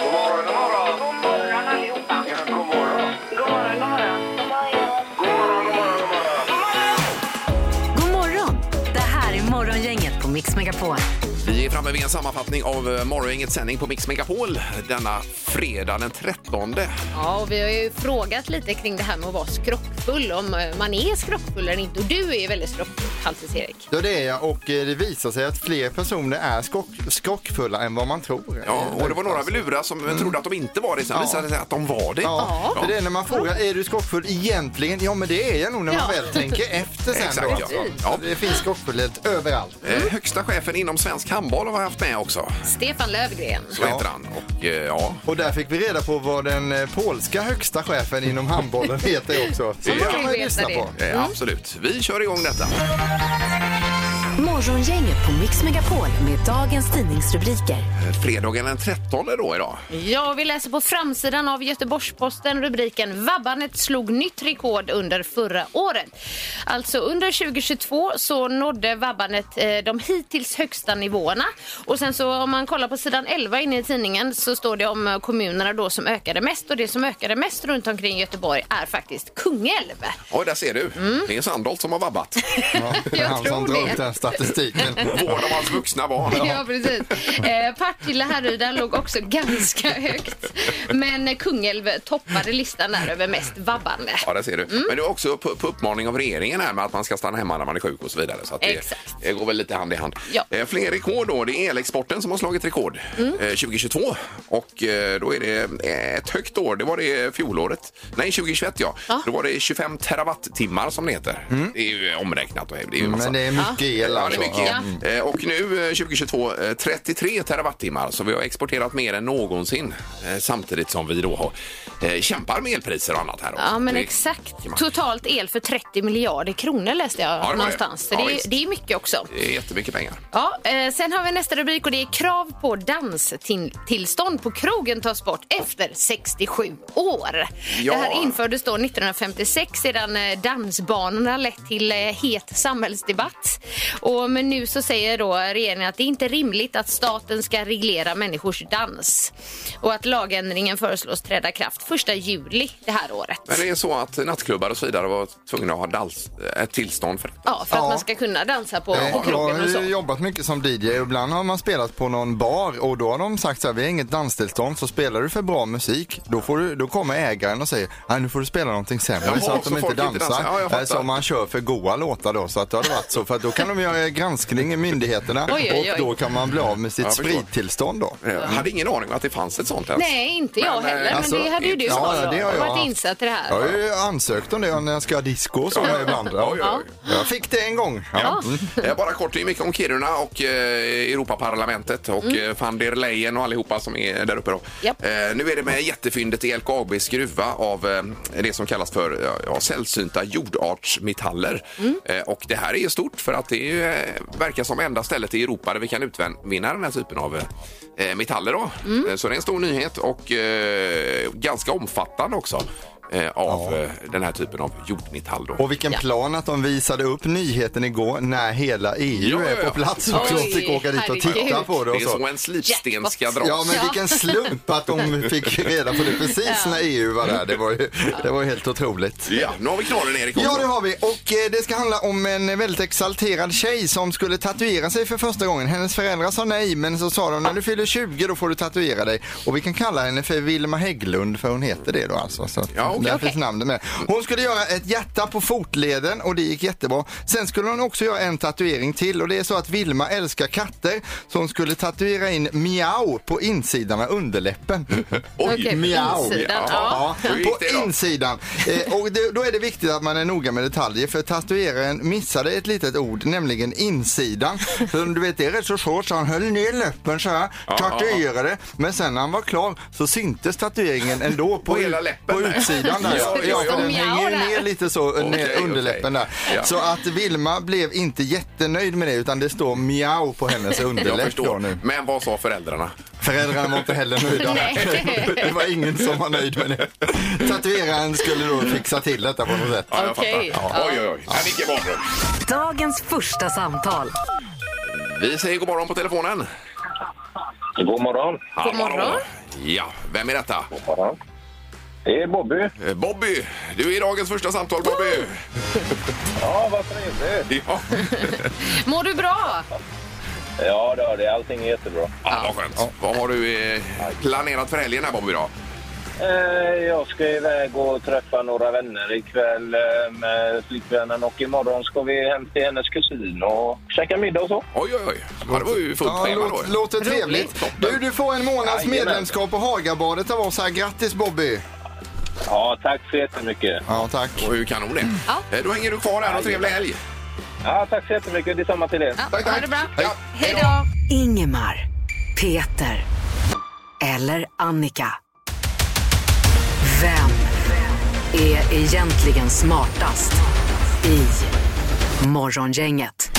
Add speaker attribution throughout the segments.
Speaker 1: God morgon, god morgon.
Speaker 2: God morgon allihopa.
Speaker 1: Ja, god morgon.
Speaker 2: God morgon, god morgon.
Speaker 1: God morgon, god morgon, god morgon.
Speaker 3: God morgon! Det här är Morgongänget på Mix Megapol.
Speaker 4: Vi är framme vid en sammanfattning av eh, morgongängets sändning på Mix Megapol denna fredag den 13.
Speaker 5: Ja, och vi har ju frågat lite kring det här med att vara skrockfull, om eh, man är skrockfull eller inte. Och du är ju väldigt skrockfull, Halvtids-Erik.
Speaker 6: Ja, det är jag och eh, det visar sig att fler personer är skock, skockfulla än vad man tror. Alltså.
Speaker 4: Ja, och det var några vi lurade som eh, trodde att de inte var det, sen
Speaker 6: Ja.
Speaker 4: visade det sig att de var det.
Speaker 6: Mm. Ja, för det är när man frågar är du skockfull egentligen? Ja, men det är jag nog när man
Speaker 5: Ja.
Speaker 6: väl tänker efter sen.
Speaker 4: Exakt,
Speaker 6: då,
Speaker 4: ja.
Speaker 6: alltså.
Speaker 4: Ja.
Speaker 6: Det finns skockfullhet överallt.
Speaker 4: Eh, Högsta chefen inom svensk handboll har vi haft med också.
Speaker 5: Stefan Löfgren.
Speaker 4: Så
Speaker 6: Ja.
Speaker 4: heter han. Och, eh, ja.
Speaker 6: Och där fick vi reda på vad den eh, polska högsta chefen inom handbollen heter också. Så
Speaker 4: Ja.
Speaker 6: det kan man ju lyssna på.
Speaker 4: Eh, Absolut. Vi kör igång detta.
Speaker 3: Morgongänget på Mix Megapol med dagens tidningsrubriker.
Speaker 4: Eh, Fredagen den 13 då idag.
Speaker 5: Ja, vi läser på framsidan av Göteborgs-Posten rubriken Vabbanet slog nytt rekord under förra året. Alltså under 2022 så nådde Vabbanet eh, de hittills högsta nivåerna. Och sen så om man kollar på sidan 11 inne i tidningen så står det om eh, kommunerna då som ökade mest och det som ökade mest runt omkring Göteborg är faktiskt Kungälv.
Speaker 4: Ja, där ser du.
Speaker 6: Mm.
Speaker 4: Det är Sandholt som har vabbat.
Speaker 6: Ja, det är han
Speaker 5: tror
Speaker 6: som drar
Speaker 5: det.
Speaker 6: ut den statistiken.
Speaker 4: Vård av hans vuxna barn.
Speaker 5: Ja, precis. Eh, Partille Härryda låg också ganska högt. Men eh, Kungälv toppade listan där över mest vabbande.
Speaker 4: Ja, där ser du.
Speaker 5: Mm.
Speaker 4: Men det är också på, på uppmaning av regeringen här med att man ska stanna hemma när man är sjuk och så vidare. Så att det,
Speaker 5: Exakt.
Speaker 4: det går väl lite hand i hand.
Speaker 5: Ja. Mm.
Speaker 4: Eh, fler rekord då. Det är elexporten som har slagit rekord eh, 2022. Och eh, då är det eh, ett högt år. Det var det fjolåret. Nej, 2021 ja. Då var det 25 terawattimmar som det heter. Det är ju eh, omräknat. och Det är ju massa.
Speaker 6: Mm. Men det är mycket el
Speaker 4: Ja, det
Speaker 6: alltså.
Speaker 4: är mycket. Eh, Och nu eh, 2022 eh, 33 terawattimmar, så vi har exporterat mer än någonsin eh, samtidigt som vi då har, eh, kämpar med elpriser och annat här också.
Speaker 5: Ja, men
Speaker 4: Det-
Speaker 5: exakt.
Speaker 4: man-
Speaker 5: Totalt el för 30 miljarder kronor läste jag
Speaker 4: var det.
Speaker 5: någonstans. Så
Speaker 4: Ja,
Speaker 5: det,
Speaker 4: visst.
Speaker 5: är, det är mycket också.
Speaker 4: Det är eh, jättemycket pengar.
Speaker 5: Ja, eh, sen har vi nästa rubrik och det är krav på danstillstånd på krogen tas bort efter 67 år.
Speaker 4: Ja.
Speaker 5: Det här infördes då 1956 sedan eh, dansbanorna lett till eh, het samhällsdebatt. Och, men nu så säger då regeringen att det är inte rimligt att staten ska reglera människors dans och att lagändringen föreslås träda kraft 1 juli det här året.
Speaker 4: Men det är så att nattklubbar och så vidare var tvungna att ha dans, ett tillstånd för detta.
Speaker 5: Ja, för
Speaker 6: Ja.
Speaker 5: att man ska kunna dansa på, på
Speaker 6: Ja, jag
Speaker 5: krogen och
Speaker 6: har
Speaker 5: så.
Speaker 6: ju jobbat mycket som DJ och ibland har man spelat på någon bar och då har de sagt så här, vi har inget danstillstånd så spelar du för bra musik då, får du, då kommer ägaren och säger, nej nu får du spela någonting sämre
Speaker 4: Jaha,
Speaker 6: så att de
Speaker 4: så
Speaker 6: inte
Speaker 4: folk inte
Speaker 6: dansar.
Speaker 4: dansar. Ja, jag fattar.
Speaker 6: Nej, så om man kör för goa låtar då så att det har varit så för att då kan de göra granskning i myndigheterna
Speaker 5: Oj, oj, oj.
Speaker 6: och då kan man bli av med sitt
Speaker 4: Jag förstår.
Speaker 6: sprittillstånd då.
Speaker 4: Jag hade ingen aning om att det fanns ett sånt ens.
Speaker 5: Nej, inte jag
Speaker 4: Men, eh,
Speaker 5: heller. Men
Speaker 6: alltså,
Speaker 5: det hade ju du
Speaker 6: ja,
Speaker 5: Sara.
Speaker 6: ja, det har jag
Speaker 5: varit
Speaker 6: haft.
Speaker 5: insatt i det här.
Speaker 6: Jag har ju ansökt om det när jag ska ha disco och så ibland.
Speaker 4: Oj, oj, oj.
Speaker 6: Jag fick det en gång. Ja. Mm.
Speaker 4: Eh, Bara kort, det är mycket om Kiruna och eh, Europaparlamentet och eh, van der Leyen och allihopa som är där uppe. Då.
Speaker 5: Mm. Japp.
Speaker 4: Eh, nu är det med jättefyndet i LKABs gruva av eh, det som kallas för ja, ja, sällsynta jordartsmetaller.
Speaker 5: Mm.
Speaker 4: Eh, och det här är ju stort för att det är, ju, eh, verkar som enda stället i Europa där vi kan utvinna den här typen av eh, metaller. Då.
Speaker 5: Mm.
Speaker 4: Eh, så det är en stor nyhet och eh, ganska omfattande också eh, av eh, den här typen av jordmetall. Då.
Speaker 6: Och vilken
Speaker 5: Ja.
Speaker 6: plan att de visade upp nyheten igår när hela EU
Speaker 4: Ja, ja,
Speaker 6: är
Speaker 4: ja.
Speaker 6: på plats och
Speaker 5: Oj,
Speaker 6: Claes fick åka dit och
Speaker 5: herregud.
Speaker 6: titta på det
Speaker 4: Det
Speaker 6: och
Speaker 4: är så
Speaker 6: så.
Speaker 4: en slipsten ska
Speaker 5: Jackpot.
Speaker 4: dras.
Speaker 6: Ja men vilken slump att de fick reda på det precis när EU var där. Det var ju, det var ju helt otroligt.
Speaker 4: Ja, nu har vi knorren Erik också.
Speaker 6: Ja, det har vi. Och eh, det ska handla om en väldigt exalterad tjej som skulle tatuera sig för första gången. Hennes föräldrar sa nej, men så sa de när du fyller 20 då får du tatuera dig. Och vi kan kalla henne för Vilma Hägglund, för hon heter det då alltså. Så att
Speaker 4: Ja, okej.
Speaker 6: där finns namnet med. Hon skulle göra ett hjärta på fotleden och det gick jättebra. Sen skulle hon också göra en tatuering till och det är så att Vilma älskar katter så hon skulle tatuera in miau på insidan av underläppen.
Speaker 4: Oj,
Speaker 5: Okej, på
Speaker 6: Miau.
Speaker 5: insidan. Ja.
Speaker 6: Ja,
Speaker 4: Hur gick
Speaker 6: på
Speaker 4: det då?
Speaker 6: insidan. Eh, och det, då är det viktigt att man är noga med detaljer för tatueraren missade ett litet ord, nämligen insidan. För du vet, det är rätt så svårt så han höll ner läppen så här,
Speaker 4: Ja,
Speaker 6: tatuerade. Men sen när han var klar så syntes tatueringen ändå på,
Speaker 4: På hela
Speaker 6: ut-
Speaker 4: läppen
Speaker 6: på
Speaker 4: där.
Speaker 6: utsidan där.
Speaker 4: Ja,
Speaker 6: Ja,
Speaker 4: ja, ja.
Speaker 6: för den
Speaker 5: Miau
Speaker 6: hänger ju
Speaker 5: där.
Speaker 6: ner lite så, ner
Speaker 4: okej.
Speaker 6: underläppen där.
Speaker 4: Ja.
Speaker 6: Så att Vilma blev inte jättenöjd med det utan det står miau på hennes
Speaker 4: Jag
Speaker 6: underläpp då
Speaker 4: förstår.
Speaker 6: nu.
Speaker 4: Men vad sa föräldrarna?
Speaker 6: Föräldrarna var inte heller nöjda.
Speaker 5: Nej.
Speaker 6: det var ingen som var nöjd med det. Tatueraren skulle då fixa till detta på något sätt.
Speaker 4: Ja, jag
Speaker 5: Okej.
Speaker 4: fattar. Ja. Oj, oj, oj. Ja. Vilken barndom.
Speaker 3: Dagens första samtal.
Speaker 4: Vi säger god morgon på telefonen.
Speaker 7: God morgon.
Speaker 4: Hallå.
Speaker 5: morgon.
Speaker 4: Ja, vem är detta?
Speaker 7: God morgon. Det är Bobby.
Speaker 4: Eh, Bobby! Du är dagens första samtal, Bobby!
Speaker 7: Ja, vad trevligt.
Speaker 4: Ja,
Speaker 5: Mår du bra?
Speaker 7: Ja, det är det. Allting är jättebra.
Speaker 4: ja vad skönt. Vad har du eh, planerat för helgen här, Bobby? Då?
Speaker 7: Eh, Jag ska iväg och träffa några vänner ikväll eh, med flickvännen och imorgon ska vi hem till hennes kusin och käka middag och så.
Speaker 4: Oj, oj, oj. Ja, det var ju fullt
Speaker 6: Ja,
Speaker 4: schema då.
Speaker 6: låt, låter trevligt. Du, du får en månads
Speaker 7: Jajamän.
Speaker 6: medlemskap på Hagabadet av oss här. Grattis Bobby!
Speaker 7: Ja, tack så jättemycket.
Speaker 6: Ja, tack.
Speaker 4: Det var ju kanon det.
Speaker 5: Ja.
Speaker 4: Eh, Då hänger du kvar här och trevlig helg.
Speaker 7: Ja, tack så jättemycket. Detsamma till er.
Speaker 5: Ja, ha det bra.
Speaker 4: Ja,
Speaker 5: Hej då.
Speaker 3: Ingemar, Peter eller Annika. Vem är egentligen smartast i Morgongänget?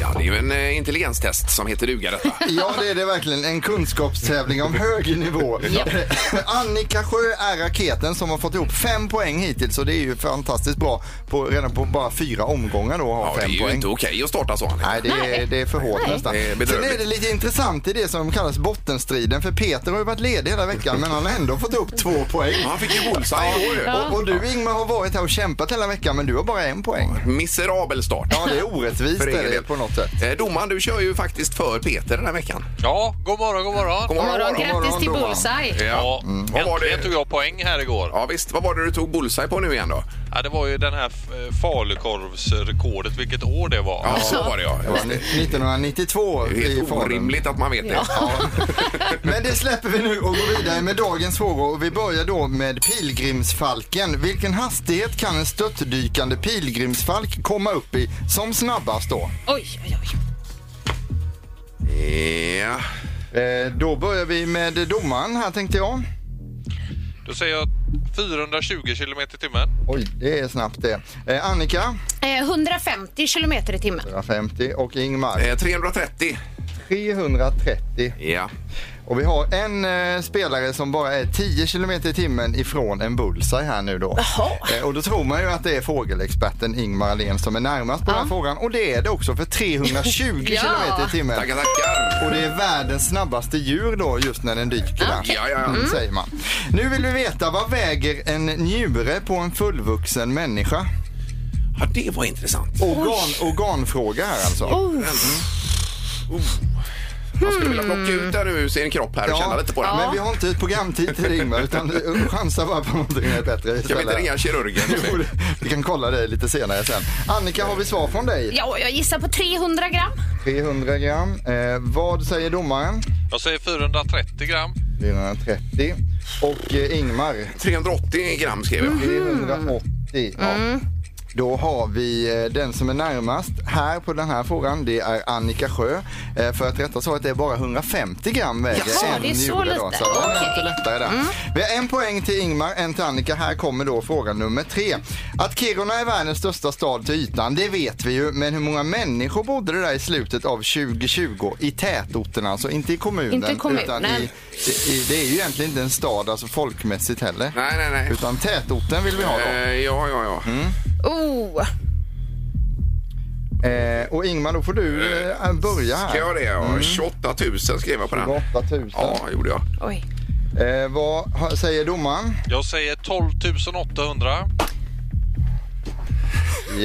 Speaker 4: Ja, det är ju en eh, intelligenstest som heter duga detta.
Speaker 6: Ja, det är det verkligen. En kunskapstävling om hög nivå. Annika Sjö är raketen som har fått ihop fem poäng hittills och det är ju fantastiskt bra. På, redan på bara fyra omgångar då har
Speaker 4: Ja, det är
Speaker 6: fem
Speaker 4: ju
Speaker 6: poäng.
Speaker 4: inte okej att starta så. Annika.
Speaker 6: Nej, det är,
Speaker 5: Nej.
Speaker 6: det är för hårt
Speaker 5: Nej.
Speaker 6: nästan.
Speaker 4: Det är
Speaker 6: Sen
Speaker 4: bedrövligt.
Speaker 6: är det lite intressant i det som kallas bottenstriden, för Peter har ju varit ledig hela veckan men han har ändå fått upp två poäng.
Speaker 4: Ja, Han fick ju bullseye igår ju.
Speaker 6: Och, och du Ingmar har varit här och kämpat hela veckan men du har bara en poäng.
Speaker 4: Miserabel start.
Speaker 6: Ja, det är orättvist
Speaker 4: För
Speaker 6: är
Speaker 4: egen
Speaker 6: det
Speaker 4: del.
Speaker 6: på något sätt.
Speaker 4: Eh, Domaren, du kör ju faktiskt för Peter den här veckan.
Speaker 8: Ja, god morgon, god morgon.
Speaker 4: God
Speaker 5: God morgon.
Speaker 4: god
Speaker 5: Grattis till
Speaker 6: morgon.
Speaker 5: bullseye.
Speaker 4: Ja. Mm.
Speaker 8: Ja,
Speaker 4: Vad var
Speaker 8: äntligen tog
Speaker 4: det?
Speaker 8: jag poäng här igår.
Speaker 4: Ja, visst. Vad var det du tog bullseye på nu igen då?
Speaker 8: Ja, det var ju den här eh, falukorvsrekordet, vilket år det var.
Speaker 4: Ja, så var det ja.
Speaker 6: Det var 1992
Speaker 4: Det är
Speaker 6: i
Speaker 4: helt
Speaker 6: Falun.
Speaker 4: orimligt att man vet det.
Speaker 6: Men det släpper vi nu och går vidare med dagens frågor. Och vi börjar då med pilgrimsfalken. Vilken hastighet kan en störtdykande pilgrimsfalk komma upp i som snabbast då?
Speaker 5: Oj, oj, oj.
Speaker 4: Ja.
Speaker 6: Eh, då börjar vi med domaren här tänkte jag.
Speaker 8: Då säger jag 420 kilometer i timmen.
Speaker 6: Oj, det är snabbt det. Eh, Annika,
Speaker 5: Eh, 150 kilometer i timmen.
Speaker 6: 150 och Ingmar
Speaker 4: Eh, 330.
Speaker 6: 330.
Speaker 4: Ja.
Speaker 6: Och vi har en eh, spelare som bara är 10 km i timmen ifrån en bullseye här nu då. Eh, och då tror man ju att det är fågelexperten Ingmar Ahlén som är närmast på den här frågan. Och det är det också för 320
Speaker 5: Ja.
Speaker 6: km i timmen.
Speaker 4: Tackar, tackar.
Speaker 6: Och det är världens snabbaste djur då just när den dyker där.
Speaker 4: Ja, Mm. ja, ja.
Speaker 6: Säger man. Nu vill vi veta, vad väger en njure på en fullvuxen människa?
Speaker 4: ja, det var intressant.
Speaker 6: Organ, organfråga här alltså.
Speaker 4: Jag skulle vilja plocka ut den ur sin kropp här och känna lite på den.
Speaker 6: Men vi har inte programtid till det Ingmar, utan eh, chansa bara på någonting som är bättre
Speaker 4: Kan vi
Speaker 6: istället.
Speaker 4: inte ringa kirurgen?
Speaker 6: Jo, det- vi kan kolla det lite senare sen. Annika, har vi svar från dig?
Speaker 5: Ja, jag gissar på 300 gram.
Speaker 6: 300 gram. Eh, vad säger domaren?
Speaker 8: Jag säger 430 gram.
Speaker 6: 430. Och eh, Ingmar?
Speaker 4: 380 gram skrev
Speaker 5: Mm-hmm.
Speaker 4: jag.
Speaker 6: 380. Ja.
Speaker 5: Mm.
Speaker 6: Då har vi eh, den som är närmast här på den här frågan. Det är Annika Sjö. Eh, För att rätta svaret är bara 150 gram väger
Speaker 5: Jaha,
Speaker 6: en
Speaker 5: det är så
Speaker 6: njure Då,
Speaker 5: lite.
Speaker 6: så det är
Speaker 5: Okej. Mm.
Speaker 6: lite lättare där. Vi har en poäng till Ingmar, en till Annika. Här kommer då fråga nummer tre. Att Kiruna är världens största stad till ytan, det vet vi ju. Men hur många människor bodde det där i slutet av 2020 i tätorten? Alltså inte i kommunen.
Speaker 5: Inte i kommunen.
Speaker 6: Utan i, i, i, det är ju egentligen inte en stad, alltså folkmässigt heller.
Speaker 4: Nej, nej, nej.
Speaker 6: Utan tätorten vill vi ha då.
Speaker 4: Eh, ja, ja, ja.
Speaker 6: Mm.
Speaker 5: Oh.
Speaker 6: Eh, och Ingmar, då får du eh, börja
Speaker 4: Ska
Speaker 6: här.
Speaker 4: jag det? Ja.
Speaker 6: Mm.
Speaker 4: 28 000 skrev jag på den.
Speaker 6: 28 000.
Speaker 4: Ja, gjorde jag.
Speaker 5: Oj.
Speaker 6: Eh, vad ha- säger domaren?
Speaker 8: Jag säger 12 800.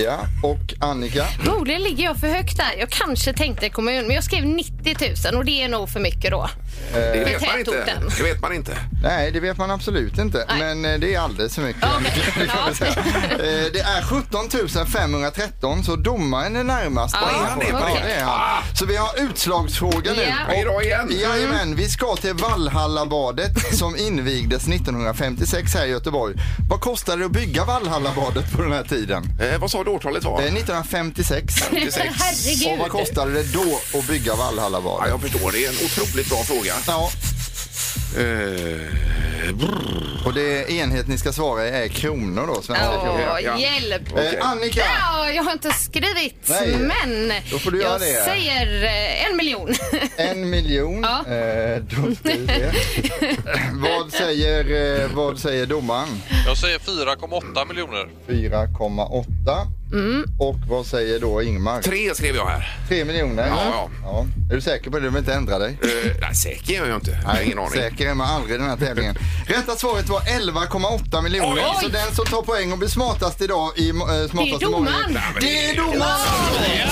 Speaker 6: Ja. Och Annika?
Speaker 5: Troligen ligger jag för högt där. Jag kanske tänkte kommun, men jag skrev 90 000 och det är nog för mycket då.
Speaker 4: Det
Speaker 5: För
Speaker 4: vet man inte.
Speaker 5: tätorten.
Speaker 4: Det vet man inte.
Speaker 6: Nej, det vet man absolut inte.
Speaker 5: Nej.
Speaker 6: Men eh, det är alldeles för mycket.
Speaker 5: Okej.
Speaker 6: Eh, det är 17 513, så domaren är närmast.
Speaker 5: Ja,
Speaker 6: på den här
Speaker 5: han är
Speaker 6: frågan.
Speaker 5: på
Speaker 6: Ja,
Speaker 5: det.
Speaker 6: det är han.
Speaker 4: Ah.
Speaker 6: Så vi har utslagsfråga nu.
Speaker 5: Ja.
Speaker 4: Hej då igen.
Speaker 6: Jajamän, vi ska till Valhallabadet som invigdes 1956 här i Göteborg. Vad kostade det att bygga Valhallabadet på den här tiden?
Speaker 4: Eh, vad sa du årtalet var?
Speaker 6: Det är 1956.
Speaker 4: 96.
Speaker 6: Och vad
Speaker 5: Herregud.
Speaker 6: kostade det då att bygga
Speaker 4: Ja,
Speaker 6: Valhallabadet?
Speaker 4: jag förstår. Det är en otroligt bra fråga.
Speaker 6: Ja,
Speaker 4: Eh,
Speaker 6: och det enhet ni ska svara i är kronor då, svenska kronor.
Speaker 5: Åh,
Speaker 4: Ja.
Speaker 5: hjälp.
Speaker 4: Okej.
Speaker 6: Eh, Annika!
Speaker 5: Ja, jag har inte skrivit,
Speaker 6: Nej.
Speaker 5: men
Speaker 6: Då får du göra
Speaker 5: jag
Speaker 6: det.
Speaker 5: säger eh, en miljon.
Speaker 6: En miljon.
Speaker 5: Ja.
Speaker 6: Eh, då blir det. Vad säger, eh, vad säger domaren?
Speaker 8: Jag säger 4,8 miljoner.
Speaker 6: 4,8.
Speaker 5: Mm.
Speaker 6: Och vad säger då Ingmar?
Speaker 4: Tre skrev jag här.
Speaker 6: 3 miljoner.
Speaker 4: Ja, ja.
Speaker 6: Är du säker på det? Du vill inte ändra dig?
Speaker 4: Eh, nej, säker är jag inte. Jag har ingen aning.
Speaker 6: Säker är man aldrig i den här tävlingen. Rätta svaret var 11,8 miljoner.
Speaker 4: Oj!
Speaker 6: Så den som tar poäng och blir smartast idag i eh, smartast i morgon-
Speaker 5: domaren.
Speaker 4: Nej, men
Speaker 6: Det är domaren!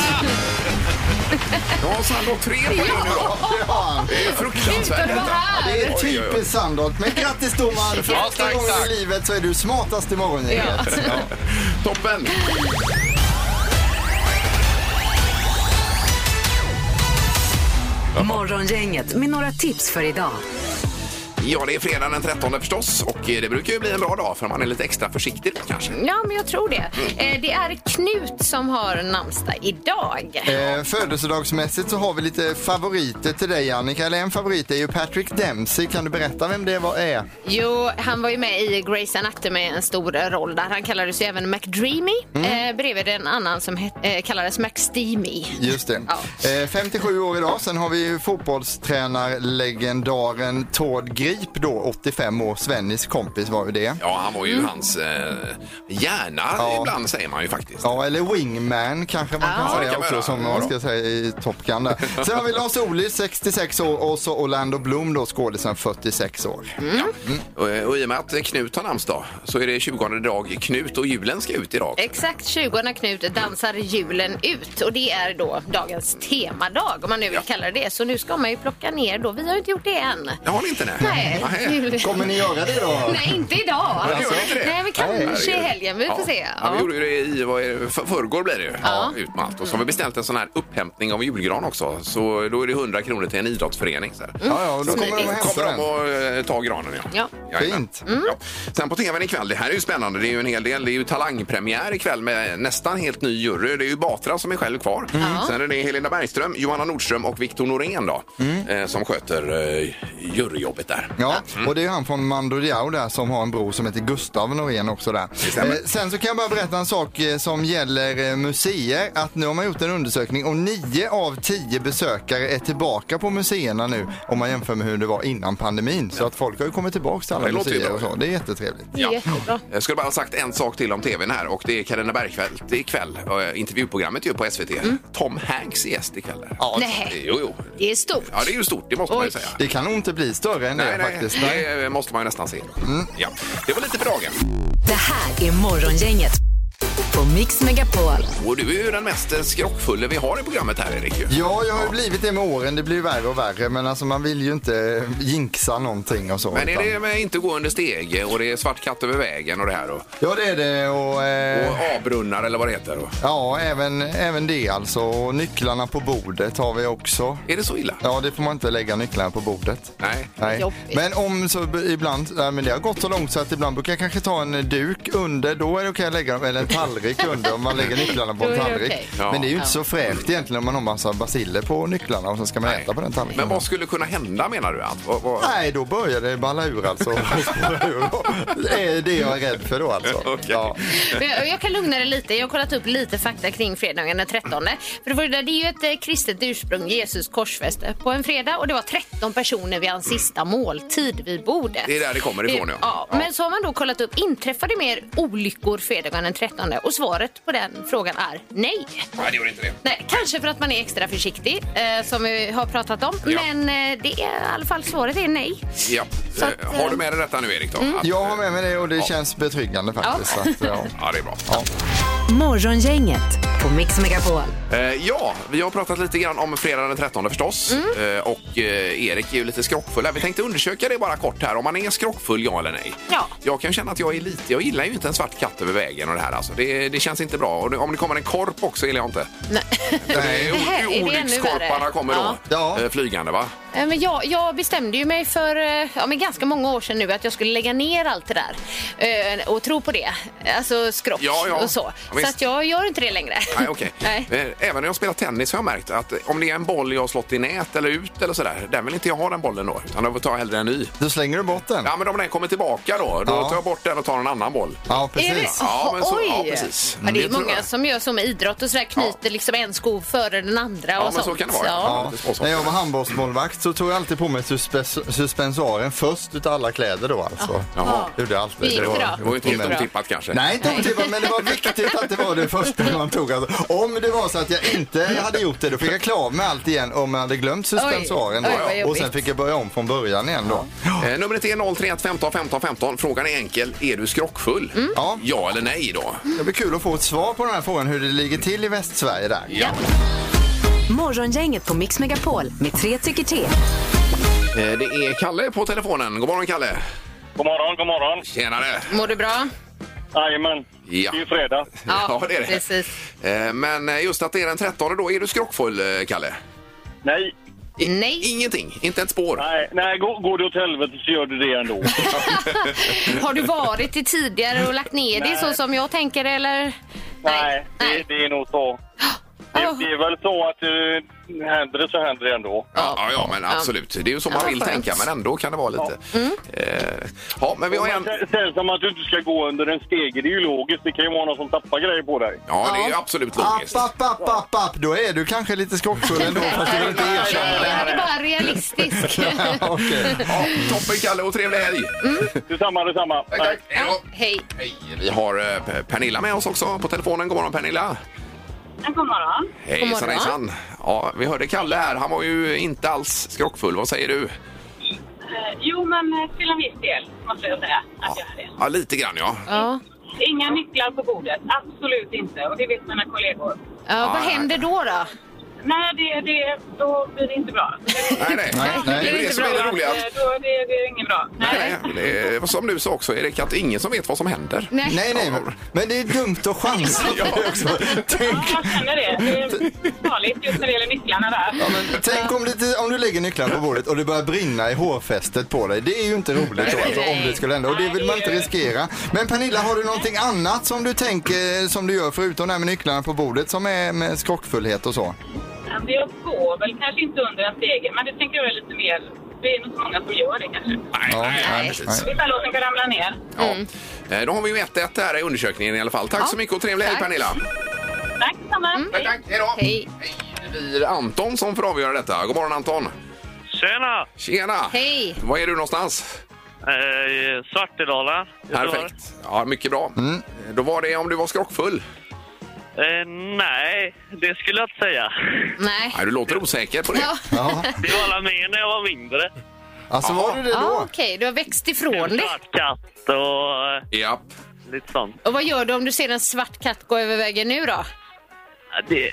Speaker 4: Ja, Sandro, tre på det nu då.
Speaker 6: Det har han.
Speaker 4: Det är fruktansvärt.
Speaker 5: Sluta, du var här.
Speaker 6: Det är
Speaker 4: Oj, oj, oj.
Speaker 6: typiskt Sandholt. Men grattis domaren! För
Speaker 8: Ja,
Speaker 6: första
Speaker 8: tack,
Speaker 6: gången
Speaker 8: tack.
Speaker 6: i livet så är du smartast i morgongänget.
Speaker 4: Toppen!
Speaker 3: Morgongänget med några tips för idag.
Speaker 4: Ja, det är fredag den 13 förstås och eh, det brukar ju bli en bra dag för man är lite extra försiktig kanske.
Speaker 5: Ja, men jag tror det. Eh, det är Knut som har namnsdag idag.
Speaker 6: Eh, födelsedagsmässigt så har vi lite favoriter till dig Annika. Eller en favorit är ju Patrick Dempsey. Kan du berätta vem det var är?
Speaker 5: Jo, han var ju med i Grey's Anatomy en stor roll där. Han kallades ju även McDreamy
Speaker 4: Mm.
Speaker 5: eh, bredvid en annan som het, eh, kallades McSteamy.
Speaker 6: Just det.
Speaker 5: Ja.
Speaker 6: Eh, 57 år idag. Sen har vi ju fotbollstränarlegendaren Tord Grip då, 85 år. Svennis kompis var ju det.
Speaker 4: Ja, han var ju
Speaker 5: Mm.
Speaker 4: hans eh, hjärna
Speaker 6: Ja.
Speaker 4: ibland säger man ju faktiskt.
Speaker 6: Ja, eller wingman kanske man kan
Speaker 4: Ja, det
Speaker 6: säga
Speaker 4: kan man
Speaker 6: också
Speaker 4: göra.
Speaker 6: som
Speaker 4: Ja,
Speaker 6: man
Speaker 4: då.
Speaker 6: ska säga i Top Gun där. Sen har vi Lars Ohly, 66 år och så Orlando Bloom då, skådisen 46 år.
Speaker 4: Och, eh, och i och med att Knut har namnsdag så är det 20 dag Knut och julen ska ut idag.
Speaker 5: Exakt 20 när Knut dansar julen ut och det är då dagens temadag om man nu vill
Speaker 4: Ja.
Speaker 5: kalla det det. Så nu ska man ju plocka ner då. Vi har ju inte gjort det än.
Speaker 4: Det har ni inte det?
Speaker 5: Nej, jul-
Speaker 6: Kommer ni göra det då?
Speaker 5: Nej, inte idag.
Speaker 4: gör vi inte det?
Speaker 5: Nej, men kanske i helgen. Vi får
Speaker 4: Alltså. Ja.
Speaker 5: se.
Speaker 4: Ja, vi
Speaker 5: Ja.
Speaker 4: gjorde ju det i vad är det, för, förrgår blev det ju. Ja. Ut med allt. Och så har vi beställt en sån här upphämtning av julgran också. Så då är det 100 kronor till en idrottsförening. Så här.
Speaker 6: Ja, ja, och då kommer de och
Speaker 4: Kommer
Speaker 6: hämta
Speaker 4: de
Speaker 6: den.
Speaker 4: att eh, ta granen, ja.
Speaker 5: Mm. Ja. Mm.
Speaker 4: Jajamän. Mm.
Speaker 6: Fint.
Speaker 4: Ja. Sen på tvn ikväll, det här är ju spännande. Det är ju en hel del. Det är ju talangpremiär ikväll med nästan helt ny jury. Det är ju Batra som är själv kvar.
Speaker 5: Mm.
Speaker 4: Sen är det Helena Bergström, Johanna Nordström och Viktor Norén då,
Speaker 6: Mm.
Speaker 4: eh, som sköter eh, juryjobbet där.
Speaker 6: Ja,
Speaker 4: Mm.
Speaker 6: och det är ju han från Mando Diao där som har en bror som heter Gustav Norén också där.
Speaker 4: stämmer.
Speaker 6: Eh, sen så kan jag bara berätta en sak eh, som gäller eh, museer. Att nu har man gjort en undersökning och nio av tio besökare är tillbaka på museerna nu om man jämför med hur det var innan pandemin. Så att folk har ju kommit tillbaka till alla
Speaker 4: Det låter ju
Speaker 6: museer och
Speaker 4: bra.
Speaker 6: så. Det är jättetrevligt.
Speaker 5: Det är jättebra.
Speaker 4: Jag skulle bara ha sagt en sak till om tvn här och det är Carina Bergfeldt ikväll. eh, Intervjuprogrammet ju på SVT. Tom Hanks är gäst ikväll. där.
Speaker 6: Mm. Ja,
Speaker 5: Nej.
Speaker 4: Jo, jo.
Speaker 5: Det är stort.
Speaker 4: Ja, det är ju stort, det måste man ju
Speaker 5: Oj.
Speaker 4: säga.
Speaker 6: Det kan nog inte bli större än det faktiskt. Nej. Mm.
Speaker 4: det eh, måste man ju nästan se. Ja. Det var lite för dagen.
Speaker 3: Det här är Morgongänget på Mix Megapol.
Speaker 4: Och du är ju den mest eh, skrockfulle vi har i programmet här, Erik. ju.
Speaker 6: Ja, jag har ju blivit det med åren. Det blir ju värre och värre. Men alltså man vill ju inte jinxa någonting och så.
Speaker 4: Men är
Speaker 6: utan-
Speaker 4: det med inte gå under steg och det är svart katt över vägen och det här och,
Speaker 6: Ja, det är det. Och, eh...
Speaker 4: och avbrunnar eller vad det heter? Och.
Speaker 6: Ja, även, även det alltså. Och nycklarna på bordet har vi också.
Speaker 4: Är det så illa?
Speaker 6: Ja, det får man inte lägga nycklarna på bordet.
Speaker 4: Nej.
Speaker 6: Nej.
Speaker 5: Jobbigt.
Speaker 6: Men om så b- ibland, nej, men det har gått så långt så att ibland brukar jag kanske ta en duk under, då är det okej att lägga dem, eller en tallrik under om man lägger nycklarna på
Speaker 5: Då
Speaker 6: en
Speaker 5: är det
Speaker 6: tallrik.
Speaker 5: okej.
Speaker 4: Ja.
Speaker 6: Men det är ju inte så fräscht egentligen om man har massa basiller på nycklarna och sen ska man
Speaker 4: Nej.
Speaker 6: äta på den tallriken.
Speaker 4: Men vad skulle kunna hända menar du? Att, vad, vad...
Speaker 6: Nej, då börjar det balla ur alltså. det är det jag är rädd för då alltså.
Speaker 4: Okej.
Speaker 6: Ja.
Speaker 5: Men Jag, jag kan lugna dig lite. Jag har kollat upp lite fakta kring fredagen den 13. För det, var, det är ju ett eh, kristet ursprung, Jesus korsfäste, på en fredag. Och det var 13 personer vid hans sista måltid vid bordet. Eh,
Speaker 4: Det är där det kommer ifrån, ja.
Speaker 5: ja. Men så har man då kollat upp, inträffade mer olyckor fredagen den 13? Och svaret på den frågan är nej.
Speaker 4: Nej, det gör inte det.
Speaker 5: Nej, kanske för att man är extra försiktig, eh, som vi har pratat om.
Speaker 4: Ja.
Speaker 5: Men eh, det är, i alla fall svaret är nej.
Speaker 4: Ja.
Speaker 5: Så att, Mm.
Speaker 4: Eh, har du med dig detta nu, Erik? Då? Att,
Speaker 6: Jag har med mig det och det känns betryggande faktiskt. Så att, ja.
Speaker 4: Ja, det är bra.
Speaker 3: Morgongänget på Mix Megapol.
Speaker 4: Eh, ja, vi har pratat lite grann om fredagen den 13 förstås.
Speaker 5: Mm.
Speaker 4: Eh, och eh, Erik är ju lite skrockfull här. Vi tänkte undersöka det bara kort här, om man är skrockfull, ja eller nej.
Speaker 5: Ja.
Speaker 4: Jag kan känna att jag är lite, jag gillar ju inte en svart katt över vägen och det här alltså. Det, det känns inte bra. Och det, om det kommer en korp också gillar jag inte. För
Speaker 6: Nej.
Speaker 4: Det
Speaker 5: här
Speaker 4: är
Speaker 5: är
Speaker 4: ju
Speaker 5: det ännu
Speaker 4: olyckskorparna
Speaker 5: värre.
Speaker 4: kommer då.
Speaker 5: Ja.
Speaker 6: Ja.
Speaker 4: eh, Flygande va?
Speaker 5: Eh, Men jag, jag bestämde ju mig för eh, ja, men ganska många år sedan nu att jag skulle lägga ner allt det där eh, och tro på det. Alltså skrock
Speaker 4: Ja, ja.
Speaker 5: och så. Så
Speaker 4: visst.
Speaker 5: att jag gör inte det längre.
Speaker 4: Nej, okej.
Speaker 5: Nej.
Speaker 4: Eh, Även när jag spelar tennis har jag märkt att om det är en boll jag har slått i nät eller ut eller sådär, den vill inte jag ha den bollen då. Utan jag vill ta hellre en ny.
Speaker 6: Då slänger du bort den.
Speaker 4: Ja, men om den kommer tillbaka då, då
Speaker 6: Ja.
Speaker 4: tar jag bort den och tar en annan boll.
Speaker 6: Ja,
Speaker 5: Är det
Speaker 6: precis.
Speaker 5: så?
Speaker 4: Ja, men så-
Speaker 5: Oj!
Speaker 4: ja, precis. Mm,
Speaker 5: Ja, det
Speaker 4: Det
Speaker 5: är
Speaker 4: tror
Speaker 5: många
Speaker 4: jag.
Speaker 5: som gör så med idrott och sådär knyter liksom en sko före den andra
Speaker 4: Ja,
Speaker 5: och
Speaker 4: men
Speaker 5: sånt.
Speaker 4: så kan det vara.
Speaker 5: Ja.
Speaker 4: Ja.
Speaker 6: Ja, när jag var handbollsmålvakt så tog jag alltid på mig suspes- suspensoaren först utav alla kläder då alltså.
Speaker 4: Jaha.
Speaker 6: Gjorde jag alltid.
Speaker 5: Det gick bra.
Speaker 4: Det var ju inte helt otippat kanske.
Speaker 6: Nej, inte otippat, men det var viktigt att det var det första man tog. Alltså, om det var så att jag inte hade gjort det, då fick jag klä av mig allt igen om jag hade glömt suspensoaren.
Speaker 5: Oj, oj,
Speaker 6: då.
Speaker 5: vad jobbigt.
Speaker 6: och sen fick jag börja om från början igen då.
Speaker 4: Eh, numret är 031 15 15 15. Frågan är enkel. Är du skrockfull?
Speaker 6: Mm. Ja.
Speaker 4: Ja eller nej då?
Speaker 6: Det blir kul att få ett svar på den här frågan hur det ligger till i Västsverige där.
Speaker 3: Morgongänget på Mix Megapol med tre tycker till.
Speaker 4: Eh, det är Kalle på telefonen. God morgon Kalle!
Speaker 7: God morgon, god morgon.
Speaker 4: Tjenare!
Speaker 5: Mår du bra?
Speaker 7: Jajamän.
Speaker 4: Ja.
Speaker 7: Det är ju fredag.
Speaker 4: det är det.
Speaker 5: Precis.
Speaker 4: Eh, men eh, just att det är den 13 då. Är du skrockfull eh, Kalle?
Speaker 7: Nej,
Speaker 5: Nej.
Speaker 4: Ingenting, inte ett spår.
Speaker 7: nej, nej går, går det åt helvete så gör du det ändå.
Speaker 5: Har du varit i tidigare och lagt ner det så som jag tänker eller?
Speaker 7: nej,
Speaker 5: Nej.
Speaker 7: Det, det är nog så. Det,
Speaker 5: Oh.
Speaker 7: det är väl så att uh, händer det så händer det ändå.
Speaker 4: Ja, ja, ja, men absolut. Det är ju så man
Speaker 5: Ja,
Speaker 4: vill
Speaker 5: skönt.
Speaker 4: tänka, men ändå kan det vara lite... Eh, ja, men vi har en...
Speaker 7: Sen- Sen som att du inte ska gå under en stege, det är ju logiskt. Det kan ju vara någon som tappar grejer på dig.
Speaker 4: Ja, det är ju absolut logiskt.
Speaker 6: App, app, app, app, app. Då är du kanske lite skrockfull ändå, fast du vill inte erkänna
Speaker 5: Jag
Speaker 6: det.
Speaker 5: hade bara realistisk.
Speaker 6: Ja, okej.
Speaker 4: Ja, toppen Kalle och trevlig helg!
Speaker 7: Detsamma, detsamma.
Speaker 4: Tack,
Speaker 7: Nej.
Speaker 4: tack. Hej då.
Speaker 5: Hej.
Speaker 4: Hej, vi har eh, P- Pernilla med oss också på telefonen. God morgon Pernilla!
Speaker 2: God morgon.
Speaker 5: God
Speaker 4: Hejsan
Speaker 5: morgon.
Speaker 4: hejsan! Ja, vi hörde Kalle här. Han var ju inte alls skrockfull. Vad säger du?
Speaker 2: Eh, Jo, men eh, till en viss del måste jag säga att jag är det.
Speaker 4: Ja, lite grann ja.
Speaker 5: Ja.
Speaker 2: Inga nycklar på bordet, absolut inte. Och det vet mina kollegor.
Speaker 5: Ja, vad
Speaker 4: nej.
Speaker 5: händer då? då?
Speaker 2: Nej, det, det, då blir det inte bra.
Speaker 4: Nej, nej.
Speaker 6: Nej,
Speaker 4: Det
Speaker 6: nej.
Speaker 4: är ju det som är det roliga.
Speaker 2: Eh,
Speaker 4: Att,
Speaker 2: Då, det, det är inget bra.
Speaker 4: nej, det är- som du sa också, Erik, att ingen som vet vad som händer.
Speaker 5: Nej.
Speaker 6: Nej, nej, men- men det är dumt att chansa på det också.
Speaker 2: Ja,
Speaker 6: Tänk,
Speaker 2: jag känner det. Det är farligt just när det gäller nycklarna där.
Speaker 6: ja, men, tänk om, det, om du lägger nycklarna på bordet och det börjar brinna i hårfästet på dig. Det är ju inte roligt då, alltså, om det skulle hända och det vill man inte riskera. Men Pernilla, har du någonting annat som du tänker som du gör förutom det här med nycklarna på bordet som är med skrockfullhet och så?
Speaker 2: Men Jag går väl kanske inte under en stege, men det tänker jag är lite mer... Det är nog så många som gör det kanske.
Speaker 4: Nej,
Speaker 6: Ja,
Speaker 4: nej,
Speaker 6: nej,
Speaker 4: precis.
Speaker 2: Vissa låter kan ramla ner.
Speaker 4: Ja. Eh, Då har vi ju 1-1 här i undersökningen i alla fall. Tack så mycket och trevlig helg
Speaker 5: Tack.
Speaker 4: Pernilla!
Speaker 2: Tack detsamma.
Speaker 4: Mm. Tack, tack. Hej då!
Speaker 5: Hej.
Speaker 4: Hej. Det blir Anton som får avgöra detta. God morgon Anton!
Speaker 9: Tjena!
Speaker 4: Tjena!
Speaker 5: Hej.
Speaker 4: Var är du någonstans?
Speaker 9: Eh, Svartedala.
Speaker 4: Perfekt. Ja, mycket bra. Då var det om du var skrockfull.
Speaker 9: Eh, nej, det skulle jag inte säga.
Speaker 5: Nej.
Speaker 4: Nej, du låter osäker på det.
Speaker 5: Ja.
Speaker 6: Ja,
Speaker 9: Det var alla med när jag var mindre.
Speaker 6: alltså var du det
Speaker 5: Ja,
Speaker 6: då?
Speaker 5: Okej, du har växt ifrån
Speaker 9: En
Speaker 5: det.
Speaker 9: svart katt och eh,
Speaker 4: Ja.
Speaker 9: lite sånt.
Speaker 5: Och vad gör du om du ser en svart katt gå över vägen nu då?
Speaker 9: Eh, Det,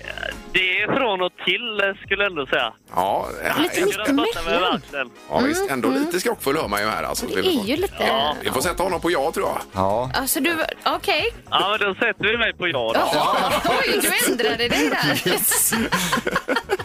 Speaker 9: det är från och till eh, skulle jag ändå säga.
Speaker 4: Ja,
Speaker 5: Lite
Speaker 9: Jag
Speaker 4: ja,
Speaker 5: mitt-
Speaker 9: skulle prata med
Speaker 5: Mittemellan.
Speaker 9: verkligen.
Speaker 4: ja visst. Ändå lite skrockfull hör man ju här. Alltså.
Speaker 5: Det är ju lite...
Speaker 9: Ja.
Speaker 4: Vi får sätta honom på ja, tror jag.
Speaker 6: Ja.
Speaker 5: Alltså du, okej.
Speaker 9: Ja, men då sätter vi mig på ja då.
Speaker 5: Oj, du ändrade dig där.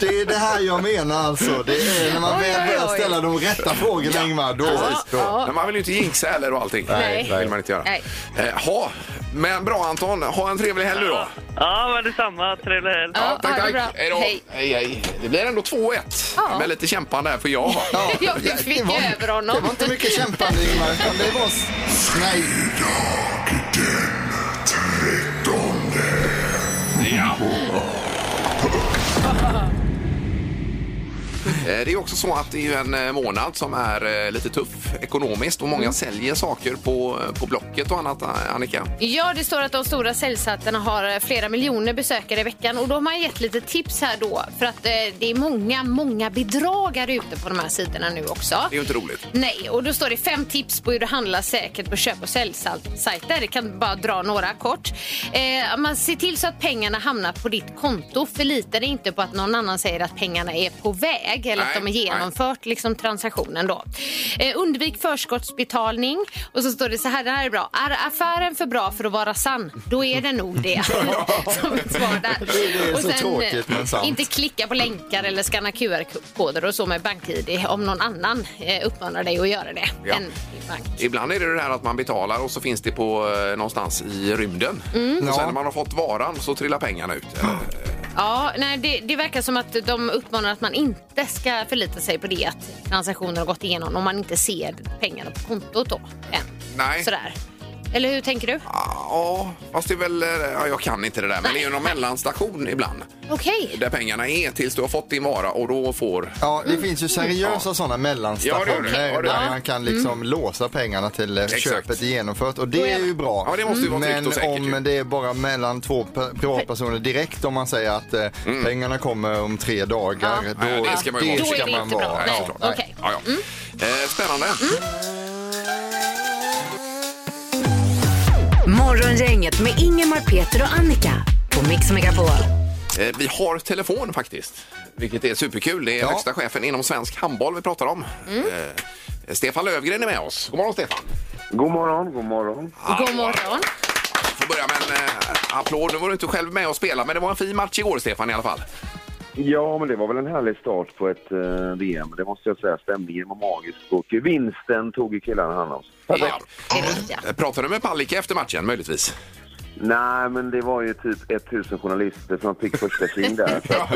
Speaker 6: Det är det här jag menar alltså. Det är när man
Speaker 5: Oj,
Speaker 6: väl
Speaker 5: oj,
Speaker 6: börjar
Speaker 5: oj.
Speaker 6: ställa de rätta frågorna Ingmar, då... då.
Speaker 4: Men man vill ju inte jinxa heller och allting.
Speaker 5: Nej.
Speaker 4: Det vill man inte göra.
Speaker 5: Nej.
Speaker 4: Eh, ha. Men bra Anton, ha en trevlig helg nu då.
Speaker 9: Ja, men detsamma. Trevlig helg.
Speaker 5: Ja,
Speaker 4: tack,
Speaker 5: ha det
Speaker 4: tack.
Speaker 5: bra.
Speaker 4: Hej då.
Speaker 5: Hej.
Speaker 4: Hej, hej. Det blir ändå 2-1.
Speaker 5: Ja.
Speaker 4: Med lite kämpande här för jag.
Speaker 6: Ja,
Speaker 5: Ja, du fick
Speaker 6: var-
Speaker 5: över honom.
Speaker 6: Det var inte mycket kämpande Ingmar, utan det var... s- Nej.
Speaker 4: Eh, Det är också så att det är ju en eh, månad som är eh, lite tuff ekonomiskt och många säljer saker på, eh, på Blocket och annat, eh, Annika.
Speaker 5: Ja, det står att de stora säljsajterna har eh, flera miljoner besökare i veckan och då har man gett lite tips här då för att eh, det är många, många bedragare ute på de här sidorna nu också.
Speaker 4: Det är ju inte roligt.
Speaker 5: Nej, och då står det fem tips på hur du handlar säkert på köp och säljsajter. Jag kan bara dra några kort. Eh, man ser till så att pengarna hamnar på ditt konto. Förlita dig inte på att någon annan säger att pengarna är på väg. förväg eller
Speaker 4: Nej,
Speaker 5: att de
Speaker 4: nej.
Speaker 5: är genomfört liksom, transaktionen. Då. Eh, undvik förskottsbetalning. Och så står det så här, det här är bra. Är affären för bra för att vara sann, då är det nog det. Som ett svar där.
Speaker 6: Det är
Speaker 5: och eh,
Speaker 6: så tråkigt, men sant.
Speaker 5: Inte klicka på länkar eller skanna QR-koder och så med bank-id om någon annan eh, uppmanar dig att göra det.
Speaker 4: Ja.
Speaker 5: Än din bank.
Speaker 4: Ibland är det det här att man betalar och så finns det på eh, någonstans i rymden. Och sen
Speaker 6: Ja.
Speaker 4: när man har fått varan så trillar pengarna ut. Eh,
Speaker 5: Ja, nej, det, det verkar som att de uppmanar att man inte ska förlita sig på det att transaktioner har gått igenom om man inte ser pengarna på kontot då än.
Speaker 4: Nej.
Speaker 5: Sådär. Eller hur tänker du?
Speaker 4: Ja, fast det är väl... eh, Ja, jag kan inte det där, men det är ju någon mellanstation ibland
Speaker 5: Okej.
Speaker 4: där pengarna är tills du har fått din vara och då får...
Speaker 6: Ja, det finns ju seriösa sådana mellanstationer
Speaker 4: Ja, det gör det. Ja, det gör
Speaker 6: där
Speaker 4: det.
Speaker 6: man kan liksom låsa pengarna till eh,
Speaker 4: Exakt.
Speaker 6: köpet är genomfört och det är ju bra.
Speaker 4: Ja, det måste ju vara tryggt
Speaker 6: Men
Speaker 4: och säkert ju.
Speaker 6: om det är bara mellan två pe- privatpersoner direkt om man säger att eh, pengarna kommer om tre dagar,
Speaker 5: Ja.
Speaker 6: då,
Speaker 4: Mm. Ja, det ska man ju
Speaker 5: Då
Speaker 4: Det
Speaker 5: är
Speaker 4: ska
Speaker 5: det inte bra.
Speaker 4: vara,
Speaker 5: Nej.
Speaker 4: såklart.
Speaker 5: Okej.
Speaker 4: Ja, ja. Eh, spännande.
Speaker 3: Morgongänget med Ingemar, Peter och Annika på Mix Megapol.
Speaker 4: Eh, vi har telefon faktiskt, vilket är superkul. Det är
Speaker 6: Ja.
Speaker 4: högsta chefen inom svensk handboll vi pratar om. Eh, Stefan Lövgren är med oss. God morgon, Stefan.
Speaker 7: God morgon, god morgon.
Speaker 5: God morgon.
Speaker 4: får börja med en eh, applåd. Nu var du inte själv med och spela, men det var en fin match igår, Stefan, i alla fall.
Speaker 7: Ja, men det var väl en härlig start på ett eh, VM. Det måste jag säga. Stämningen var magisk och vinsten tog ju killarna hand om.
Speaker 4: Ja.
Speaker 5: Det är det, ja.
Speaker 4: Eh, Pratade du med Palicka efter matchen, möjligtvis?
Speaker 7: Nej, men det var ju typ 1000 journalister som fick första sling där. Så att,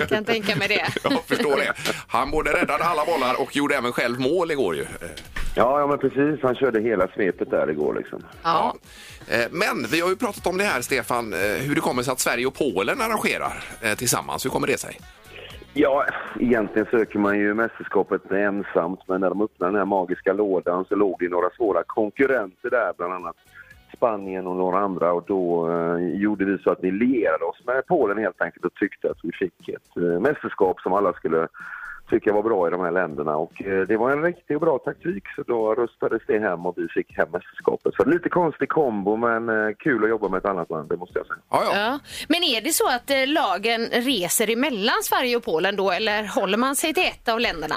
Speaker 7: eh,
Speaker 5: Kan tänka mig det.
Speaker 4: Jag förstår det. Han både räddade alla bollar och gjorde även själv mål igår ju. Eh,
Speaker 7: ja, ja, men precis. Han körde hela svepet där igår liksom.
Speaker 5: Ja.
Speaker 4: eh, Men vi har ju pratat om det här, Stefan, eh, hur det kommer sig att Sverige och Polen arrangerar eh, tillsammans. Hur kommer det sig?
Speaker 7: Ja, egentligen söker man ju mästerskapet ensamt, men när de öppnade den här magiska lådan så låg det ju några svåra konkurrenter där, bland annat Spanien och några andra och då eh, gjorde vi så att vi lierade oss med Polen helt enkelt och tyckte att vi fick ett eh, mästerskap som alla skulle tycka var bra i de här länderna och eh, det var en riktigt bra taktik så då röstades det hem och vi fick hem mästerskapet. Så lite konstig kombo men eh, kul att jobba med ett annat land, det måste jag säga.
Speaker 4: Ja, ja.
Speaker 5: Ja. Men är det så att eh, lagen reser emellan Sverige och Polen då eller håller man sig till ett av länderna?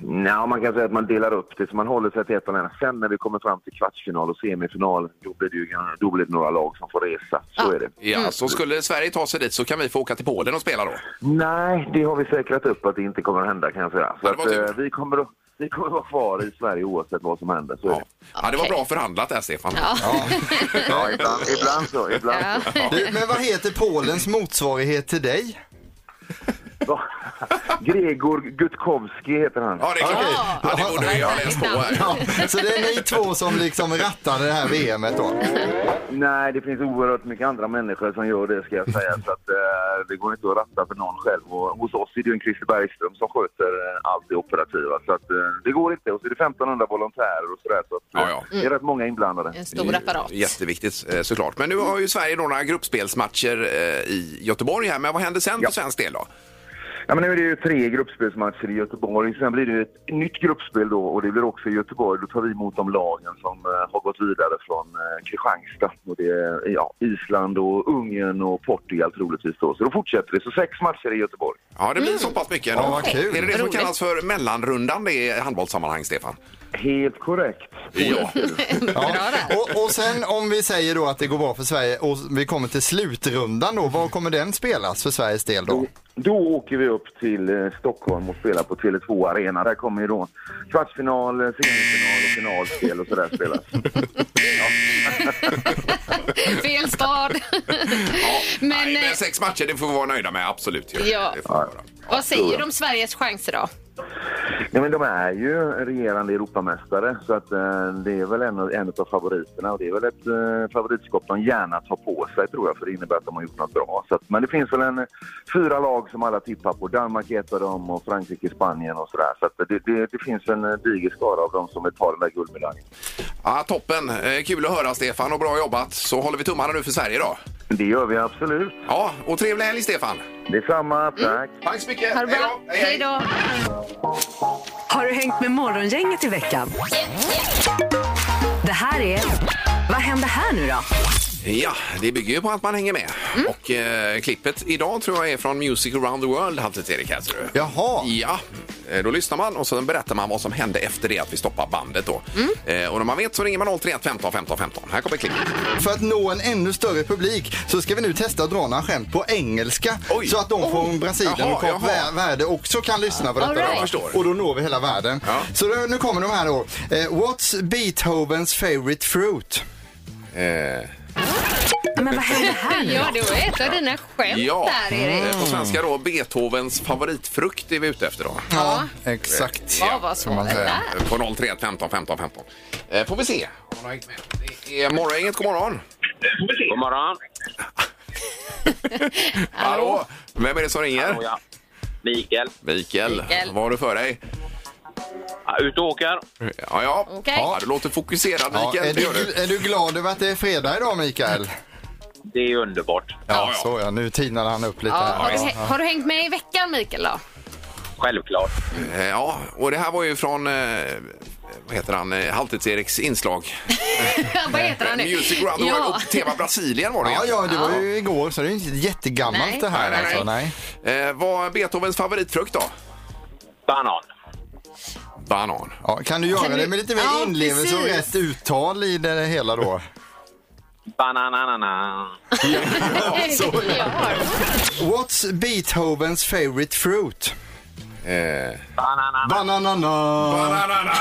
Speaker 7: Nej, man kan säga att man delar upp det, så man håller sig till ett av länderna. Sen när vi kommer fram till kvartsfinal och semifinal, då blir det, ju, då blir det några lag som får resa. Så
Speaker 5: Ja.
Speaker 7: är det.
Speaker 5: Mm.
Speaker 4: Ja, så skulle Sverige ta sig dit så kan vi få åka till Polen och spela då.
Speaker 7: Nej, det har vi säkrat upp att det inte kommer att hända kan jag säga. Så
Speaker 4: Ja, det
Speaker 7: att,
Speaker 4: var tur.
Speaker 7: eh, vi, kommer att, vi kommer att vara kvar i Sverige oavsett vad som händer. Så är
Speaker 4: Ja,
Speaker 7: det.
Speaker 4: ja det var
Speaker 5: Okej.
Speaker 4: bra förhandlat där, Stefan.
Speaker 7: ja ibland, ibland så. Ibland
Speaker 5: Ja.
Speaker 7: så.
Speaker 6: Du, men vad heter Polens motsvarighet till dig?
Speaker 7: Ja. Gregor Gutkovski heter han.
Speaker 4: Ja, det är klart.
Speaker 6: Okej.
Speaker 4: Ja, det borde jag ha läst på här.
Speaker 6: Ja, så det är ni två som liksom rattar det här VMet då?
Speaker 7: Nej, det finns oerhört mycket andra människor som gör det ska jag säga. Så att, eh, det går inte att ratta för någon själv. Och hos oss är det ju en Christer Bergström som sköter eh, allt det operativa. Så att, eh, det går inte. Och så är det 1500 volontärer och sådär. Så att, eh,
Speaker 4: Ja, ja.
Speaker 2: Mm.
Speaker 7: Det är rätt många inblandade.
Speaker 5: En stor apparat.
Speaker 4: Jätteviktigt eh, såklart. Men nu har ju Sverige då några gruppspelsmatcher eh, i Göteborg här. Men vad händer sen för svensk del då?
Speaker 7: Ja, men nu är det ju tre gruppspelsmatcher i Göteborg. Sen blir det ju ett nytt gruppspel då och det blir också i Göteborg. Då tar vi emot de lagen som eh, har gått vidare från eh, Kristianstad. Och det är ja, Island och Ungern och Portugal troligtvis då. Så då fortsätter det. Så sex matcher i Göteborg.
Speaker 4: Ja, det blir så pass mycket. ändå.
Speaker 6: Mm. Ja, vad kul.
Speaker 4: Är det det som
Speaker 5: Roligt.
Speaker 4: kallas för mellanrundan det i handbollssammanhang, Stefan?
Speaker 7: Helt korrekt.
Speaker 4: Ja.
Speaker 6: Ja. Och, och sen om vi säger då att det går bra för Sverige och vi kommer till slutrundan då, var kommer den spelas för Sveriges del då?
Speaker 7: Då åker vi upp till eh, Stockholm och spelar på Tele2 Arena. Där kommer ju då kvartsfinal, eh, semifinal och finalspel och sådär spelas.
Speaker 5: Fel stad. Men,
Speaker 4: Nej,
Speaker 5: eh,
Speaker 4: men sex matcher, det får vi vara nöjda med. Absolut. ju.
Speaker 5: Ja.
Speaker 4: Det får vi göra.
Speaker 5: vad säger du om Sveriges chanser då?
Speaker 7: Ja, men de är ju regerande Europamästare så att eh, det är väl en, av- en av favoriterna och det är väl ett eh, favoritskap de gärna tar på sig tror jag för det innebär att de har gjort något bra. Så att, men det finns väl en eh, fyra lag som alla tippar på. Danmark är ett av dem och Frankrike, Spanien och sådär. Så att det, det, det finns en eh, diger skara av dem som vill ta den där guldmedaljen.
Speaker 4: Ja, toppen. Eh, Kul att höra, Stefan, och bra jobbat. Så håller vi tummarna nu för Sverige då.
Speaker 7: Det gör vi absolut.
Speaker 4: Ja, och trevlig helg, Stefan.
Speaker 7: Detsamma, tack.
Speaker 4: Tack så mycket.
Speaker 5: Ha det bra.
Speaker 4: då.
Speaker 5: Hej då.
Speaker 3: Har du hängt med Morgongänget i veckan? Det här är... Vad händer här nu då?
Speaker 4: Ja, det bygger ju på att man hänger med. Och eh, klippet idag tror jag är från Music around the world, Halvtids-Erik här ser du.
Speaker 6: Jaha,
Speaker 4: Ja, eh, då lyssnar man och sen berättar man vad som hände efter det att vi stoppar bandet då. Eh, och när man vet så ringer man 031 15 15 15. Här kommer klippet.
Speaker 6: för att nå en ännu större publik så ska vi nu testa att dra några skämt på engelska
Speaker 4: Oj.
Speaker 6: så att de från Brasilien
Speaker 4: Jaha,
Speaker 6: och Kap
Speaker 4: jaha.
Speaker 6: Ver- Verde också kan lyssna på detta.
Speaker 5: All
Speaker 6: då.
Speaker 5: right. Jag
Speaker 4: förstår.
Speaker 6: Och då når vi hela världen.
Speaker 4: Ja.
Speaker 6: Så då, nu kommer de här då. Eh, what's Beethovens favorite fruit?
Speaker 4: Eh,
Speaker 3: Men vad händer här nu?
Speaker 5: Ja, det var ett av dina skämt
Speaker 4: ja,
Speaker 5: där, Erik.
Speaker 4: Eh, på svenska då Beethovens favoritfrukt är vi ute efter då.
Speaker 6: Ja, exakt.
Speaker 5: Vad var
Speaker 6: kan man
Speaker 5: svaret
Speaker 6: säga.
Speaker 5: där?
Speaker 4: Eh, På 031 15 15 15. Eh, får vi se. Har någon hängt med? Det är Morgongänget, god morgon.
Speaker 9: God morgon.
Speaker 4: Hallå, vem är det som ringer?
Speaker 9: ja. Mikael.
Speaker 4: Mikael,
Speaker 5: Mikael.
Speaker 4: vad har du för dig?
Speaker 9: Ut och åker.
Speaker 4: Ja, ja.
Speaker 5: Okej.
Speaker 4: ja du låter fokuserad
Speaker 6: Ja,
Speaker 4: Mikael.
Speaker 6: är,
Speaker 4: det gör
Speaker 6: du,
Speaker 4: du.
Speaker 6: är du glad över att det är fredag idag Mikael?
Speaker 9: Det är underbart.
Speaker 4: Ja,
Speaker 6: Ja,
Speaker 4: ja.
Speaker 6: så ja. Nu tinade han upp lite.
Speaker 5: Ja, har,
Speaker 6: här.
Speaker 5: du, hä- har du hängt med i veckan, Mikael? Då?
Speaker 9: Självklart.
Speaker 4: Eh, Ja, och det här var ju från, eh, vad heter han, eh, Halvtids-Eriks inslag.
Speaker 5: Vad heter han nu?
Speaker 4: Music Round the World
Speaker 5: ja.
Speaker 4: och tema Brasilien var det
Speaker 6: Ja,
Speaker 4: egentligen.
Speaker 6: ja, det var ju igår så det är ju inte jättegammalt
Speaker 5: Nej.
Speaker 6: det här
Speaker 4: Nej, nej,
Speaker 6: alltså.
Speaker 4: nej.
Speaker 6: Nej.
Speaker 4: Eh, Vad är Beethovens favoritfrukt då?
Speaker 9: Banan.
Speaker 4: Banan.
Speaker 6: Ja, kan du göra
Speaker 5: Kan du-
Speaker 6: det med lite mer
Speaker 5: Ja,
Speaker 6: inlevelse och
Speaker 5: precis.
Speaker 6: rätt uttal i det hela då?
Speaker 9: Banananana.
Speaker 5: Nej, det är jag har.
Speaker 6: What's Beethovens favorite fruit?
Speaker 4: Eh,
Speaker 9: Bananana.
Speaker 6: Bananana.
Speaker 4: Bananana.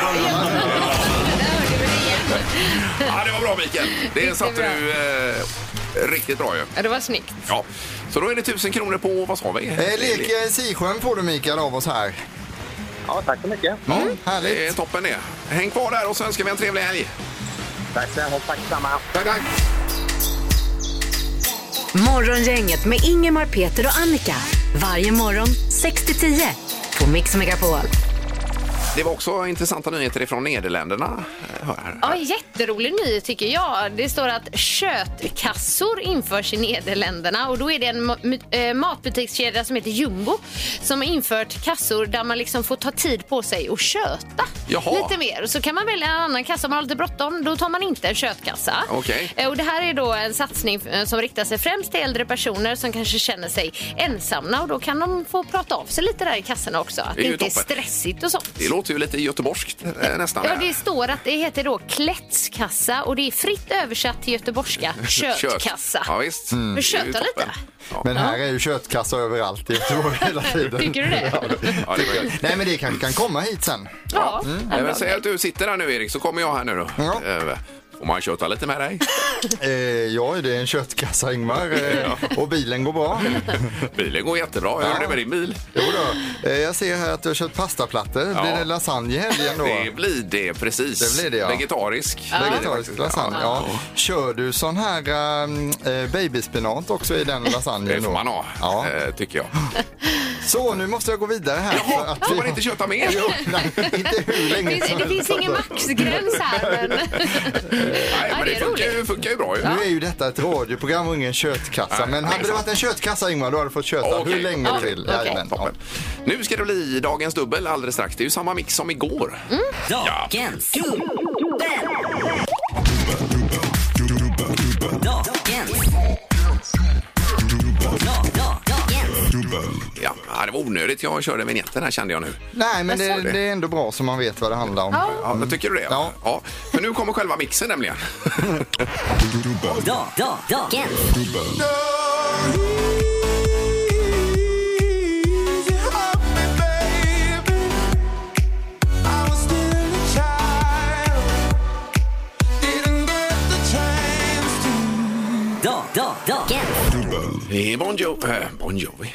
Speaker 4: Ja, det var bra Mikael. Det satte
Speaker 5: bra.
Speaker 4: du eh, riktigt bra ju.
Speaker 5: Ja, det var snyggt.
Speaker 4: Ja. Så då är det tusen kronor på, vad sa vi?
Speaker 6: Eh, Leka i Sisjön får du Mikael av oss här.
Speaker 9: Ja, tack så mycket.
Speaker 6: Ja, härligt.
Speaker 4: Det är toppen det. Häng kvar där och så önskar vi en trevlig helg.
Speaker 9: Tack så mycket. Tack samma.
Speaker 4: Tack, tack.
Speaker 3: Morgongänget med Ingemar, Peter och Annika. Varje morgon 6 till 10 på Mix Megapol.
Speaker 4: Det var också intressanta nyheter från Nederländerna. eh, hör här.
Speaker 5: Ja, jätterolig nyhet tycker jag. Det står att köttkassor införs i Nederländerna och då är det en ma- my- eh, matbutikskedja som heter Jumbo som har infört kassor där man liksom får ta tid på sig och köta
Speaker 4: Jaha.
Speaker 5: lite mer. Så kan man välja en annan kassa om man har lite bråttom. Då tar man inte en köttkassa.
Speaker 4: Okej.
Speaker 5: Eh, Och det här är då en satsning eh, som riktar sig främst till äldre personer som kanske känner sig ensamma och då kan de få prata av sig lite där i kassorna också. Att
Speaker 4: Det
Speaker 5: det,
Speaker 4: är ju
Speaker 5: inte är
Speaker 4: toppen.
Speaker 5: stressigt och sånt.
Speaker 4: Det låter ju lite göteborgskt eh, nästan.
Speaker 5: Ja, det står att det heter då klättskassa och det är fritt översatt till göteborgska köttkassa.
Speaker 4: Ja, visst.
Speaker 5: Men Mm. köta
Speaker 4: Det är ju
Speaker 5: lite.
Speaker 4: toppen. Ja.
Speaker 6: Men här är ju köttkassa överallt i Göteborg hela tiden.
Speaker 5: Tycker du det?
Speaker 4: Ja, det var...
Speaker 6: Nej men det kanske kan komma hit sen.
Speaker 5: Ja, Mm.
Speaker 4: Nej, men säg att du sitter här nu Erik, så kommer jag här nu då.
Speaker 6: Ja.
Speaker 4: Eh, Får man köta lite med dig?
Speaker 6: Eh, ja, det är en köttkassa Ingmar eh, och bilen går bra.
Speaker 4: Bilen går jättebra. Hur är det med din bil?
Speaker 6: Jo då. Eh, jag ser här att du har köpt pastaplattor.
Speaker 4: Ja.
Speaker 6: Blir det lasagne i helgen då?
Speaker 4: Det blir det precis.
Speaker 6: Det blir det, ja.
Speaker 4: Vegetarisk.
Speaker 6: Vegetarisk lasagne, ja. Kör du sån här ähm, eh, babyspinat också i den lasagnen?
Speaker 4: Det får
Speaker 6: då?
Speaker 4: man ha,
Speaker 6: Ja.
Speaker 4: eh, tycker jag.
Speaker 6: Så, nu måste jag gå vidare här. för
Speaker 4: Jaha,
Speaker 6: att
Speaker 4: får
Speaker 6: vi
Speaker 4: man
Speaker 6: har-
Speaker 4: inte köta mer?
Speaker 6: Jo, nej, inte hur
Speaker 5: Det
Speaker 6: länge
Speaker 5: finns, det finns ingen maxgräns här. Men...
Speaker 4: Nej,
Speaker 5: Ja, det
Speaker 4: men det
Speaker 5: är
Speaker 4: funkar
Speaker 5: roligt.
Speaker 4: ju, funkar ju bra ju.
Speaker 6: Nu är ju detta ett radioprogram och ingen köttkassa.
Speaker 4: Nej,
Speaker 6: men
Speaker 4: nej,
Speaker 6: hade det
Speaker 4: sant.
Speaker 6: varit en köttkassa Ingmar, då hade du fått köta
Speaker 4: Okej.
Speaker 6: hur länge
Speaker 5: Ja,
Speaker 6: till.
Speaker 5: okej.
Speaker 6: Jajamän, ja.
Speaker 4: Toppen. Nu ska det bli dagens dubbel alldeles strax. Det är ju samma mix som igår.
Speaker 5: Mm.
Speaker 4: Ja.
Speaker 3: Dagens dubbel. Dagens. Dagens.
Speaker 4: Ja, det var onödigt. Jag körde vignetten här kände jag nu.
Speaker 6: Nej, men
Speaker 5: Jag
Speaker 6: det,
Speaker 5: såg
Speaker 4: det.
Speaker 6: det är ändå bra så man vet vad det handlar om.
Speaker 4: Ja, men Tycker du det?
Speaker 6: Ja.
Speaker 4: ja. För nu kommer själva mixen nämligen.
Speaker 3: Da- da- Dagens. Da- da- Dagens.
Speaker 4: Det är Bon, jo- eh, bon Jovi.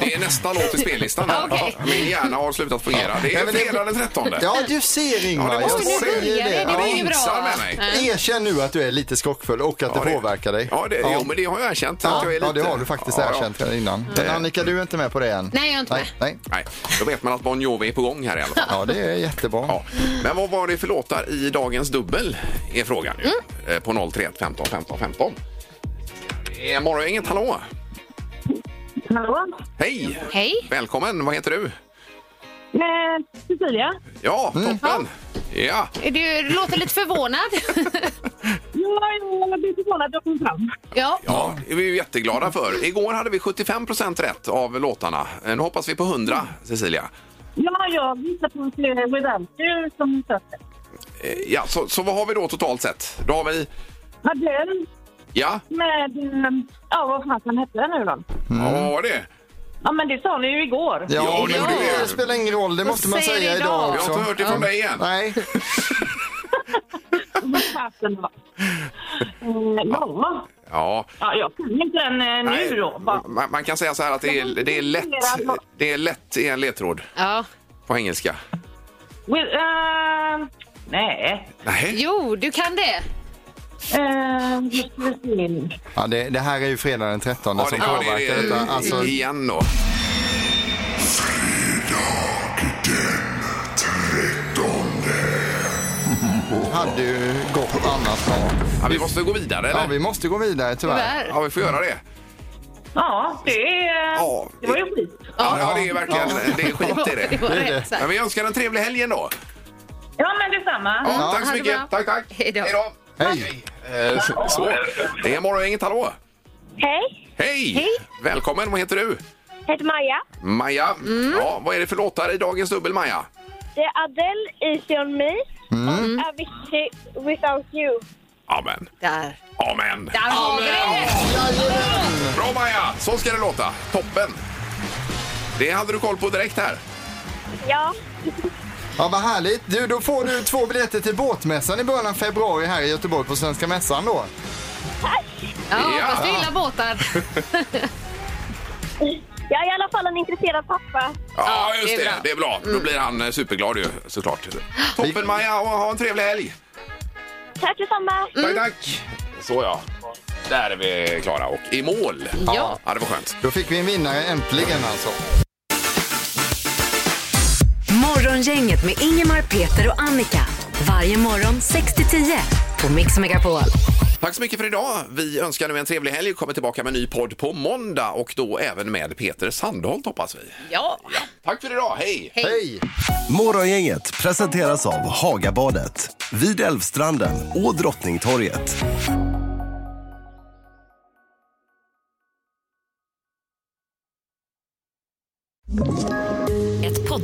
Speaker 4: Det är nästa låt i spellistan. här.
Speaker 5: Okej.
Speaker 4: Min hjärna har slutat fungera. Det
Speaker 6: Nej,
Speaker 4: är
Speaker 6: men det-
Speaker 4: fredag den 13.
Speaker 6: Ja, du ser Ingmar.
Speaker 4: Ja, det måste
Speaker 6: jag
Speaker 4: ni
Speaker 6: säger
Speaker 5: börja, det är
Speaker 6: Ja.
Speaker 5: var ju
Speaker 4: jinxar
Speaker 5: bra.
Speaker 4: med mig.
Speaker 6: Erkänn nu att du är lite skockfull och att det, påverkar dig.
Speaker 4: Ja, det, Jo, men det har jag erkänt.
Speaker 6: Ja,
Speaker 4: att jag är
Speaker 6: ja, det
Speaker 4: lite-
Speaker 6: har du faktiskt
Speaker 4: Ja, Eh. ja.
Speaker 6: erkänt här innan. Men Annika, du är inte med på det än.
Speaker 5: Nej, jag är inte
Speaker 6: nej, med. Nej.
Speaker 4: Nej, då vet man att Bon Jovi är på gång här i alla fall.
Speaker 6: Ja, det är jättebra.
Speaker 4: Ja. Men vad var det för låtar i dagens dubbel? Är frågan nu.
Speaker 6: Mm.
Speaker 4: Eh, På 031 15 15 15. Eh, Morgongänget, hallå!
Speaker 10: Hallå?
Speaker 4: Hej!
Speaker 5: Hej.
Speaker 4: Välkommen, vad heter du?
Speaker 10: Eh, Cecilia?
Speaker 6: Mm.
Speaker 4: Ja, toppen! Ja,
Speaker 5: Du låter lite förvånad.
Speaker 10: Ja, jag blir förvånad att jag kom fram.
Speaker 5: ja.
Speaker 4: ja, det är vi ju jätteglada för. Igår hade vi 75 rätt av låtarna. Eh, Nu hoppas vi på 100, Cecilia.
Speaker 10: Ja, jag gissar på att det är Without You som söker.
Speaker 4: Eh, Ja, så, så vad har vi då totalt sett? Då har vi...
Speaker 10: Adele
Speaker 4: Ja,
Speaker 10: med... eh, Ja, vad fan han hette den nu då?
Speaker 4: ja vad var det?
Speaker 10: Ja, men det sa vi ju igår.
Speaker 6: Ja,
Speaker 4: Ja,
Speaker 6: men
Speaker 4: det gjorde vi.
Speaker 6: det spelar ingen roll, det måste man
Speaker 5: säger
Speaker 6: säga
Speaker 5: det
Speaker 6: idag,
Speaker 5: idag?
Speaker 4: Jag
Speaker 6: också.
Speaker 4: har inte hört det från dig igen.
Speaker 6: Nej,
Speaker 10: Vad fasen var. Eh, Ja,
Speaker 4: Ja,
Speaker 10: ja, jag kan inte den eh,
Speaker 4: nej,
Speaker 10: nu då. Bara.
Speaker 4: man, man kan säga så här att det är, det är lätt. Det är lätt i en ledtråd
Speaker 5: ja.
Speaker 4: på engelska.
Speaker 10: With, eh, nej.
Speaker 4: Nej.
Speaker 5: Jo, du kan det.
Speaker 10: Eh, nu ska vi se.
Speaker 6: ja, det, det här är ju fredag den 13
Speaker 4: Ja, det,
Speaker 6: som
Speaker 4: ja,
Speaker 6: påverkar
Speaker 4: det, det,
Speaker 6: detta. Alltså,
Speaker 4: igen då.
Speaker 6: hade ju gått annars dag.
Speaker 4: Ja, vi måste gå vidare, eller?
Speaker 6: Ja, vi måste gå vidare tyvärr.
Speaker 5: Tyvärr.
Speaker 4: Ja, vi får göra det.
Speaker 10: Ja, det, är- eh,
Speaker 4: Ja,
Speaker 10: det var ju skit.
Speaker 4: Ja, det är verkligen det är skit i
Speaker 5: Det
Speaker 4: det.
Speaker 5: var
Speaker 6: Det är det.
Speaker 5: rätt sagt.
Speaker 4: Men vi önskar en trevlig helg ändå.
Speaker 10: Ja, men detsamma.
Speaker 4: Ja,
Speaker 5: Ja,
Speaker 4: tack så
Speaker 5: ha det
Speaker 4: mycket.
Speaker 5: bra.
Speaker 4: Tack, tack.
Speaker 5: Hej då.
Speaker 6: Hej!
Speaker 4: Eh, så- Så. Det är Morgongänget, hallå!
Speaker 10: Hej,
Speaker 4: Hej!
Speaker 10: Hej.
Speaker 4: Välkommen, vad heter du?
Speaker 10: jag heter Maja. Mm.
Speaker 4: Maja. Ja, vad är det för låtar i dagens dubbel, Maja? Mm.
Speaker 10: Det är Adele, Easy on me och Avicii, Without you.
Speaker 4: Amen.
Speaker 5: Där.
Speaker 4: Amen.
Speaker 5: Där har vi det!
Speaker 4: Bra Maja! Så ska det låta. Toppen! Det hade du koll på direkt här.
Speaker 10: Ja.
Speaker 6: Ja, vad härligt. Du, då får du två biljetter till båtmässan i början av februari här i Göteborg på Svenska Mässan då.
Speaker 5: Ja,
Speaker 4: Ja.
Speaker 5: fast du gillar båtar.
Speaker 10: Jag är i alla fall en intresserad pappa.
Speaker 4: Ja,
Speaker 5: Ja,
Speaker 4: just
Speaker 5: det är bra. Mm.
Speaker 4: det. Det är bra. Då blir han eh, superglad ju, såklart. Toppen Maja och ha en trevlig helg!
Speaker 10: Tack detsamma. Mm.
Speaker 4: Tack, tack! Så ja. Där är vi klara och i mål.
Speaker 5: Ja.
Speaker 4: Ja, det var skönt.
Speaker 6: Då fick vi en vinnare äntligen alltså.
Speaker 3: Morgongänget med Ingemar, Peter och Annika. Varje morgon 6-10 på Mix Megapol.
Speaker 4: Tack så mycket för idag. Vi önskar nu en trevlig helg och kommer tillbaka med en ny podd på måndag och då även med Peter Sandholt hoppas vi.
Speaker 5: Ja.
Speaker 4: Tack för idag, hej!
Speaker 6: Hej!
Speaker 11: Morgongänget presenteras av Hagabadet, vid Älvstranden och Drottningtorget.
Speaker 3: Ett